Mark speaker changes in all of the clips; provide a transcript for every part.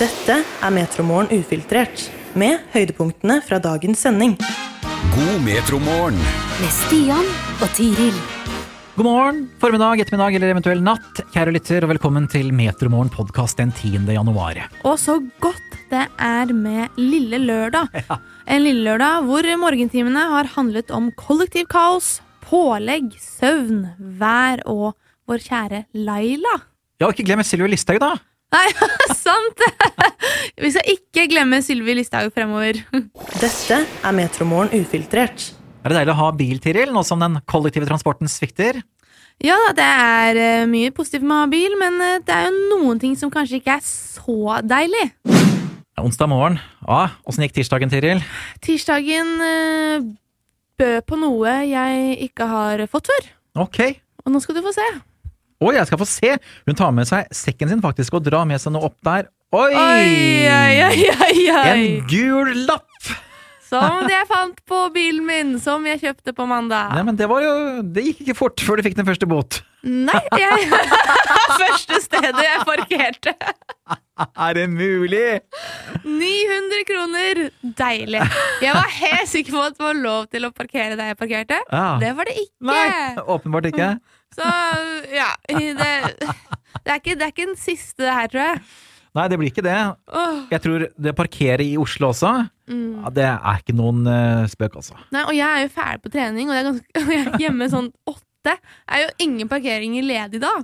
Speaker 1: Dette er Metromorgen ufiltrert, med høydepunktene fra dagens sending.
Speaker 2: God metromorgen.
Speaker 3: med Stian og Tiril.
Speaker 4: God morgen, formiddag, ettermiddag eller eventuell natt. Kjære lytter, og velkommen til Metromorgen podkast den 10. januar.
Speaker 5: Og så godt det er med Lille Lørdag. En Lille Lørdag hvor morgentimene har handlet om kollektiv kaos, pålegg, søvn, vær og vår kjære Laila.
Speaker 4: Ja, og ikke glem Silje Listhaug, da!
Speaker 5: Nei, sant! Vi skal ikke glemme Sylvi Listhaug fremover.
Speaker 1: Dette er Metromorgen ufiltrert.
Speaker 4: Er det deilig å ha bil, Tiril, nå som den kollektive transporten svikter?
Speaker 5: Ja da, det er eh, mye positivt med å ha bil, men eh, det er jo noen ting som kanskje ikke er så deilig.
Speaker 4: Det er onsdag morgen. Ja, Åssen gikk tirsdagen, Tiril?
Speaker 5: Tirsdagen eh, bød på noe jeg ikke har fått før,
Speaker 4: Ok.
Speaker 5: og nå skal du få se.
Speaker 4: Oi, jeg skal få se! Hun tar med seg sekken sin faktisk og drar med seg noe opp der. Oi!
Speaker 5: Oi, oi, oi, oi, oi.
Speaker 4: En gul lapp!
Speaker 5: Som det jeg fant på bilen min, som jeg kjøpte på mandag.
Speaker 4: Nei, men det var jo Det gikk ikke fort før du fikk den første bot.
Speaker 5: Nei, jeg Første stedet jeg parkerte.
Speaker 4: Er det mulig?
Speaker 5: 900 kroner! Deilig. Jeg var helt sikker på at det var lov til å parkere der jeg parkerte.
Speaker 4: Ja.
Speaker 5: Det var det ikke.
Speaker 4: Ah. Nei, åpenbart ikke.
Speaker 5: Så ja Det, det, er, ikke, det er ikke den siste her, tror jeg.
Speaker 4: Nei, det blir ikke det.
Speaker 5: Åh.
Speaker 4: Jeg tror det å parkere i Oslo også, ja, det er ikke noen eh, spøk, altså.
Speaker 5: Nei, og jeg er jo ferdig på trening, og det er ganske, jeg er hjemme sånn åtte. Det er jo ingen parkeringer ledig da.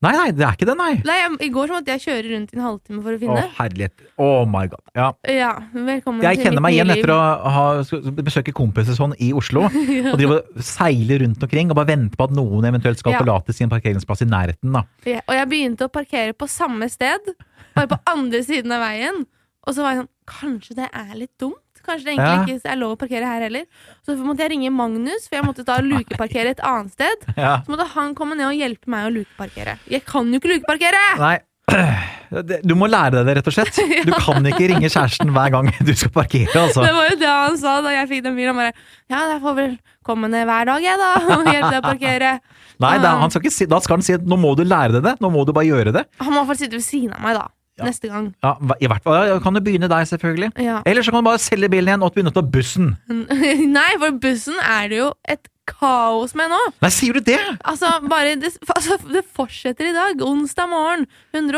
Speaker 4: Nei, nei, det er ikke det, nei.
Speaker 5: Nei, jeg, I går så måtte jeg kjøre rundt i en halvtime for å
Speaker 4: Å,
Speaker 5: finne.
Speaker 4: herlighet. Oh my god. Ja.
Speaker 5: Ja, velkommen
Speaker 4: Jeg
Speaker 5: til
Speaker 4: kjenner
Speaker 5: mitt
Speaker 4: meg
Speaker 5: nye
Speaker 4: igjen
Speaker 5: liv.
Speaker 4: etter å ha, sk- besøke kompiser sånn i Oslo, og drive og seile rundt omkring og bare vente på at noen eventuelt skal
Speaker 5: Ja.
Speaker 4: forlate sin parkeringsplass i nærheten, da.
Speaker 5: Ja, og jeg begynte å parkere på samme sted, bare på andre siden av veien. Og så var jeg sånn Kanskje det er litt dumt? Kanskje det egentlig ikke er lov å parkere her heller? Så måtte jeg ringe Magnus, for jeg måtte da lukeparkere et annet sted.
Speaker 4: Ja.
Speaker 5: Så måtte han komme ned og hjelpe meg å lukeparkere. Jeg kan jo ikke lukeparkere!
Speaker 4: Nei. Det- Du må lære deg det, rett og slett. Du kan ikke ringe kjæresten hver gang du skal parkere, altså.
Speaker 5: Det var jo det han sa da jeg fikk den bilen. Han bare Ja, jeg får vel komme ned hver dag, jeg, da, og hjelpe deg å parkere.
Speaker 4: Nei, da,
Speaker 5: Ah.
Speaker 4: han skal ikke si, da skal han si at nå må du lære deg det, nå må du bare gjøre det.
Speaker 5: Han må i hvert fall sitte ved siden av meg, da. Neste gang.
Speaker 4: Ja, I hvert fall ja, kan du begynne der, selvfølgelig.
Speaker 5: Ja.
Speaker 4: Eller så kan du bare selge bilen igjen og begynne å ta bussen.
Speaker 5: Nei, for bussen er det jo et kaos med nå.
Speaker 4: Nei, sier du det?!
Speaker 5: Altså, bare, det, altså, det fortsetter i dag. Onsdag morgen.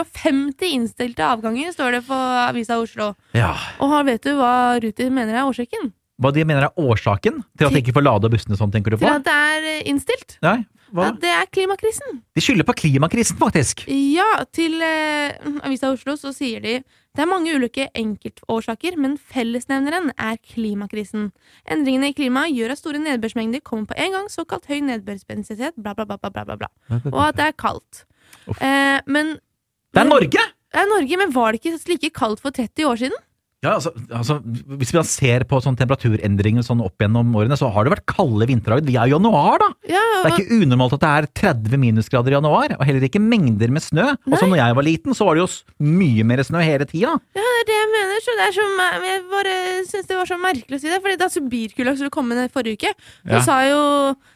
Speaker 5: 150 innstilte avganger, står det på Avisa Oslo.
Speaker 4: Ja.
Speaker 5: Og her vet du hva Ruter mener er årsaken?
Speaker 4: Hva de mener er årsaken til at de ikke får lada bussene sånn, tenker du
Speaker 5: Til
Speaker 4: på?
Speaker 5: at det er eh, innstilt?
Speaker 4: Nei, hva?
Speaker 5: At det er klimakrisen.
Speaker 4: De skylder på klimakrisen, faktisk!
Speaker 5: Ja, til eh, Avisa Oslo så sier de det er mange ulike enkeltårsaker, men fellesnevneren er klimakrisen. Endringene i klimaet gjør at store nedbørsmengder kommer på en gang, såkalt høy nedbørsbensitet, bla, bla, bla, bla, bla, bla, bla. Og at det er kaldt.
Speaker 4: Uff.
Speaker 5: Eh, men
Speaker 4: Det er Norge!
Speaker 5: Det er Norge, men var det ikke like kaldt for 30 år siden?
Speaker 4: Ja, altså, altså, hvis vi da ser på sånn temperaturendringer sånn opp gjennom årene, så har det vært kalde vinterdager. Vi er i januar, da!
Speaker 5: Ja,
Speaker 4: Det er ikke unormalt at det er 30 minusgrader i januar, og heller ikke mengder med snø. Og så når jeg var liten, så var det jo s- mye mer snø hele tida.
Speaker 5: ja, det er det jeg mener. Så det er så, mer- jeg bare syns det var så merkelig å si det. Fordi da Subirkulak skulle komme ned forrige uke, så
Speaker 4: Ja.
Speaker 5: sa jo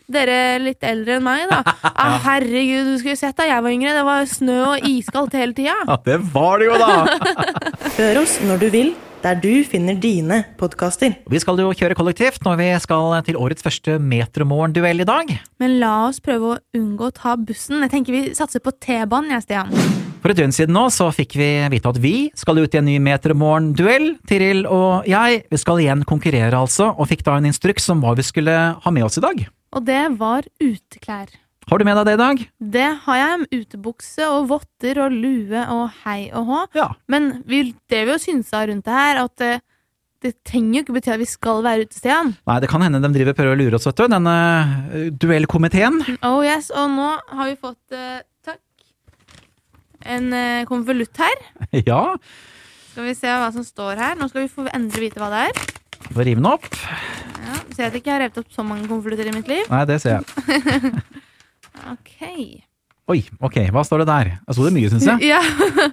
Speaker 5: dere litt eldre enn meg, da. Ah, herregud, du skulle sett da jeg var yngre. Det var snø og iskaldt hele tida.
Speaker 4: Ja, det var det jo, da!
Speaker 1: Hør oss når du vil, der du finner dine podkaster.
Speaker 4: Vi skal jo kjøre kollektivt når vi skal til årets første Metromorgen-duell i dag.
Speaker 5: Men la oss prøve å unngå å ta bussen. Jeg tenker vi satser på T-banen, jeg, Stian.
Speaker 4: For et døgn siden nå så fikk vi vite at vi skal ut i en ny Metromorgen-duell. Tiril og jeg vi skal igjen konkurrere, altså, og fikk da en instruks om hva vi skulle ha med oss i dag.
Speaker 5: Og det var uteklær.
Speaker 4: Har du med deg det i dag?
Speaker 5: Det har jeg. Utebukse og votter og lue og hei og hå.
Speaker 4: Ja.
Speaker 5: Men vi drev jo og synsa rundt det her at eh, det trenger jo ikke bety at vi skal være ute, Stian.
Speaker 4: Nei, det kan hende de driver og prøver å lure oss, vet du. Denne eh, duellkomiteen.
Speaker 5: Oh yes, og nå har vi fått eh, Takk. En eh, konvolutt her.
Speaker 4: Ja,
Speaker 5: Skal vi se hva som står her. Nå skal vi få endelig vite hva det er.
Speaker 4: får rive den opp.
Speaker 5: Ja, Ser at jeg ikke har revet opp så mange konvolutter i mitt liv.
Speaker 4: Nei, det ser jeg.
Speaker 5: Ok.
Speaker 4: Oi, ok, hva står det der? Jeg sto det mye, syns jeg.
Speaker 5: Ja.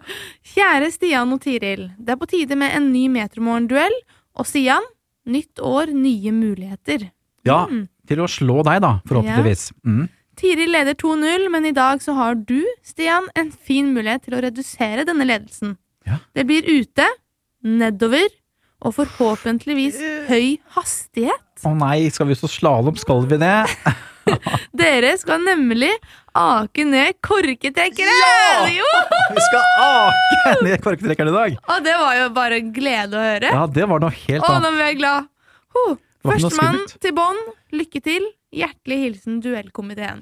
Speaker 5: Kjære Stian og Tiril. Det er på tide med en ny Metromorgen-duell. Og Stian, nytt år, nye muligheter.
Speaker 4: Ja, til å slå deg, da, forhåpentligvis. Mm.
Speaker 5: Tiril leder 2-0, men i dag så har du, Stian, en fin mulighet til å redusere denne ledelsen.
Speaker 4: Ja.
Speaker 5: Det blir ute, nedover og forhåpentligvis høy hastighet.
Speaker 4: Å nei, skal vi ut og slalåm? Skal vi det?
Speaker 5: Dere skal nemlig ake ned korketrekkere! Jo!
Speaker 4: Vi skal ake ned korktrekkeren i dag!
Speaker 5: Og det var jo bare en glede å høre.
Speaker 4: Ja, det var noe helt
Speaker 5: Å, nå
Speaker 4: annet.
Speaker 5: ble jeg glad!
Speaker 4: Det var
Speaker 5: Huh.
Speaker 4: ikke noe
Speaker 5: Førstemann
Speaker 4: skummelt.
Speaker 5: til bånn. Lykke til. Hjertelig hilsen duellkomiteen.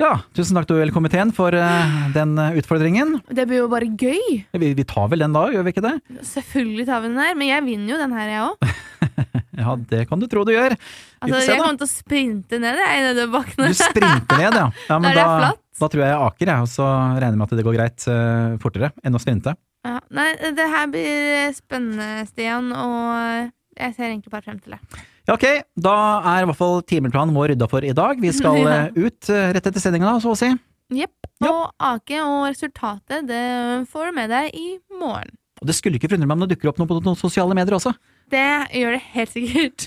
Speaker 4: Ja, tusen takk duellkomiteen for eh, den eh, utfordringen.
Speaker 5: Det blir jo bare gøy.
Speaker 4: Vi, vi tar vel den da, gjør vi ikke det?
Speaker 5: Selvfølgelig tar vi den her, men jeg vinner jo den her, jeg òg.
Speaker 4: Ja, det kan du tro du gjør. Vi
Speaker 5: Altså,
Speaker 4: får se,
Speaker 5: jeg
Speaker 4: da.
Speaker 5: kommer til å sprinte ned jeg, nedover bakkene.
Speaker 4: Du sprinter ned, ja. ja men
Speaker 5: Der det er
Speaker 4: da,
Speaker 5: flatt.
Speaker 4: da tror jeg jeg aker, jeg, og så regner jeg med at det går greit eh, fortere enn å sprinte.
Speaker 5: Ja, nei, det her blir eh, spennende, Stian, og eh, jeg ser egentlig bare frem til det.
Speaker 4: Ja, ok, da er i hvert fall timeplanen vår rydda for i dag. Vi skal
Speaker 5: Ja.
Speaker 4: eh, ut eh, rett etter sendinga, så å si.
Speaker 5: Jepp.
Speaker 4: Ja.
Speaker 5: Og Ake og resultatet, det får du med deg i morgen.
Speaker 4: Og det skulle ikke forundre meg om det dukker opp noe på noen sosiale medier også.
Speaker 5: Det gjør det helt sikkert.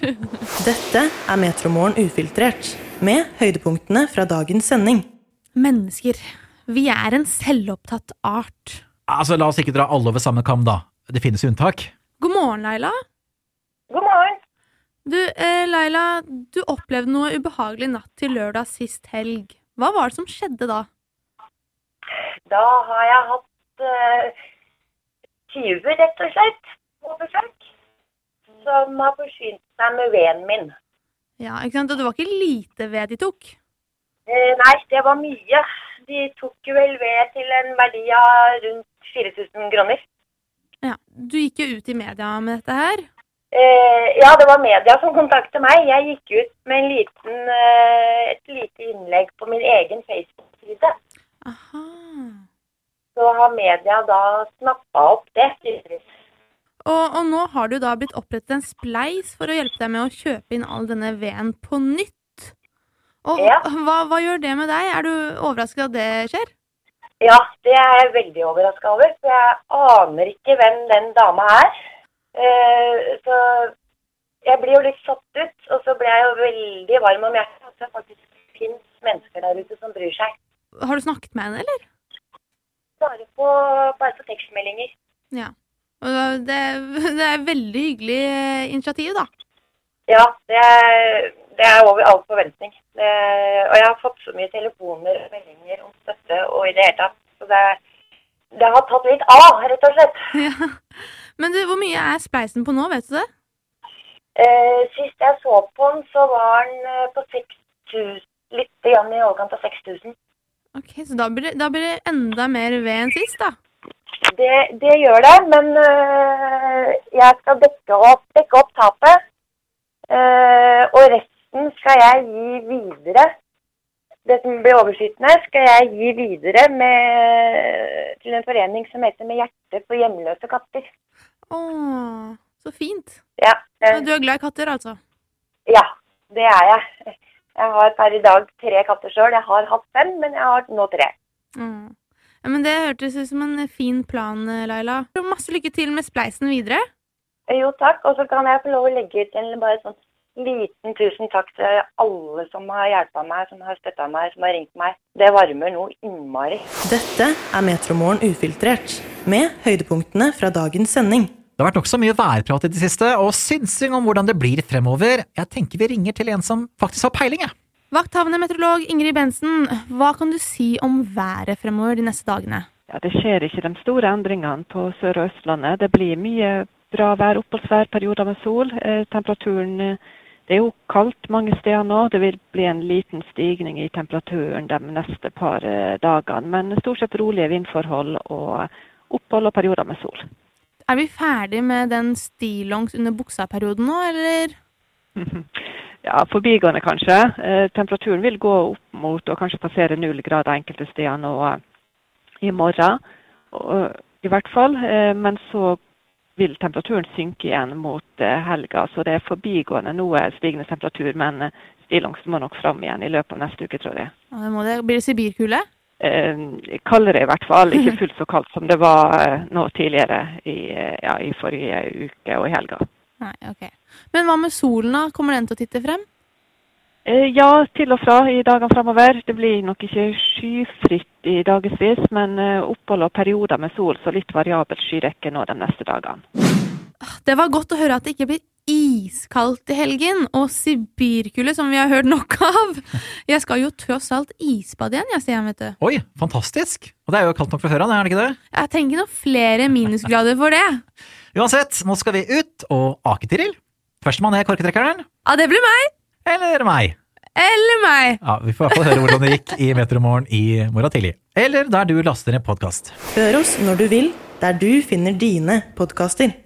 Speaker 1: Dette er Metromorgen ufiltrert, med høydepunktene fra dagens sending.
Speaker 5: Mennesker. Vi er en selvopptatt art.
Speaker 4: Altså, la oss ikke dra alle over samme kam, da. Det finnes jo unntak.
Speaker 5: God morgen, Laila.
Speaker 6: God morgen.
Speaker 5: Du, eh, Laila, du opplevde noe ubehagelig natt til lørdag sist helg. Hva var det som skjedde da?
Speaker 6: Da har jeg hatt eh, tyver, rett og slett, på besøk. Som har forsynt seg med veden min.
Speaker 5: Ja, ikke sant? Og det var ikke lite ved de tok.
Speaker 6: Eh, nei, det var mye. De tok jo vel ved til en verdi av rundt 4000 kroner.
Speaker 5: Ja, du gikk jo ut i media med dette her.
Speaker 6: Eh, ja, det var media som kontaktet meg. Jeg gikk ut med en liten, eh, et lite innlegg på min egen Facebook-side.
Speaker 5: Aha.
Speaker 6: Så har media da snappa opp det. tydeligvis.
Speaker 5: Og, og nå har du da blitt opprettet en spleis for å hjelpe deg med å kjøpe inn all denne veden på nytt. Og
Speaker 6: Ja.
Speaker 5: hva, hva gjør det med deg? Er du overrasket at det skjer?
Speaker 6: Ja, det er jeg veldig overraska over, for jeg aner ikke hvem den dama er. Eh, så jeg blir jo litt satt ut, og så ble jeg jo veldig varm om hjertet at det faktisk fins mennesker der ute som bryr seg.
Speaker 5: Har du snakket med henne, eller?
Speaker 6: Bare på, bare på tekstmeldinger.
Speaker 5: Ja. Og Det, det er veldig hyggelig eh, initiativ, da.
Speaker 6: Ja, det er, det er over all forventning. Eh, og jeg har fått så mye telefoner og meldinger om støtte og i det hele tatt. Så det, det har tatt litt av, rett og slett.
Speaker 5: Ja. Men du, hvor mye er spleisen på nå, vet du det?
Speaker 6: Eh, sist jeg så på den, så var den eh, på 6000, litt grann i overkant av 6000.
Speaker 5: Ok, Så da blir det, da blir det enda mer ved enn sist, da.
Speaker 6: Det, det gjør det, men eh, jeg skal dekke opp, dekke opp tapet. Eh, og resten skal jeg gi videre. Det som blir overskytende, skal jeg gi videre med, til en forening som heter Med hjertet for hjemløse katter.
Speaker 5: Åh, så fint.
Speaker 6: Ja, eh,
Speaker 5: Du er glad i katter, altså?
Speaker 6: Ja, det er jeg. Jeg har per i dag tre katter sjøl. Jeg har hatt fem, men jeg har nå tre.
Speaker 5: Åh. Ja, men Det hørtes ut som en fin plan, eh, Laila. Og Masse lykke til med spleisen videre.
Speaker 6: Jo, takk. Og så kan jeg få lov å legge ut en bare sånn liten tusen takk til alle som har hjulpet meg, som har støtta meg, som har ringt meg. Det varmer noe innmari.
Speaker 1: Dette er Metromorgen ufiltrert, med høydepunktene fra dagens sending.
Speaker 4: Det har vært nokså mye værprat i det siste, og synsing om hvordan det blir fremover. Jeg tenker vi ringer til en som faktisk har peiling, jeg.
Speaker 5: Vakthavende meteorolog Ingrid Bensen, hva kan du si om været fremover de neste dagene?
Speaker 7: Ja, Det skjer ikke de store endringene på Sør- og Østlandet. Det blir mye bra vær, oppholdsvær, perioder med sol. Eh, temperaturen eh, det er jo kaldt mange steder nå. Det vil bli en liten stigning i temperaturen de neste par eh, dagene. Men stort sett rolige vindforhold og opphold og perioder med sol.
Speaker 5: Er vi ferdig med den stillongs under buksa-perioden nå, eller?
Speaker 7: Ja, Forbigående, kanskje. Eh, temperaturen vil gå opp mot og kanskje passere null grader enkelte steder nå eh, i morgen. Og, I hvert fall. Eh, men så vil temperaturen synke igjen mot eh, helga. Så det er forbigående noe stigende temperatur, men eh, stillongsen må nok fram igjen i løpet av neste uke, tror jeg.
Speaker 5: Å, det må det, blir det sibirkule?
Speaker 7: Eh, kaldere i hvert fall. Ikke fullt så kaldt som det var eh, nå tidligere i, eh, ja, i forrige uke og i helga.
Speaker 5: Nei, ok. Men hva med solen, da? Kommer den til å titte frem?
Speaker 7: Eh, Ja, til og fra i dagene fremover. Det blir nok ikke skyfritt i dagevis, men eh, opphold og perioder med sol, så litt variabelt skydekke nå de neste dagene.
Speaker 5: Det var godt å høre at det ikke blir iskaldt i helgen, og sibirkulde, som vi har hørt nok av. Jeg skal jo tross alt isbade igjen, jeg, Stian, vet du.
Speaker 4: Oi, fantastisk! Og det er jo kaldt nok fra før av, er det ikke det?
Speaker 5: Jeg trenger ikke noen flere minusgrader for det.
Speaker 4: Uansett, nå skal vi ut og ake, Tiril. Førstemann er korketrekkeren,
Speaker 5: Ja, det blir meg!
Speaker 4: eller meg?
Speaker 5: Eller meg!
Speaker 4: Ja, Vi får i hvert fall høre hvordan det gikk i Metromorgen i morgen tidlig. Eller der du laster ned podkast.
Speaker 1: Hør oss når du vil, der du finner dine podkaster.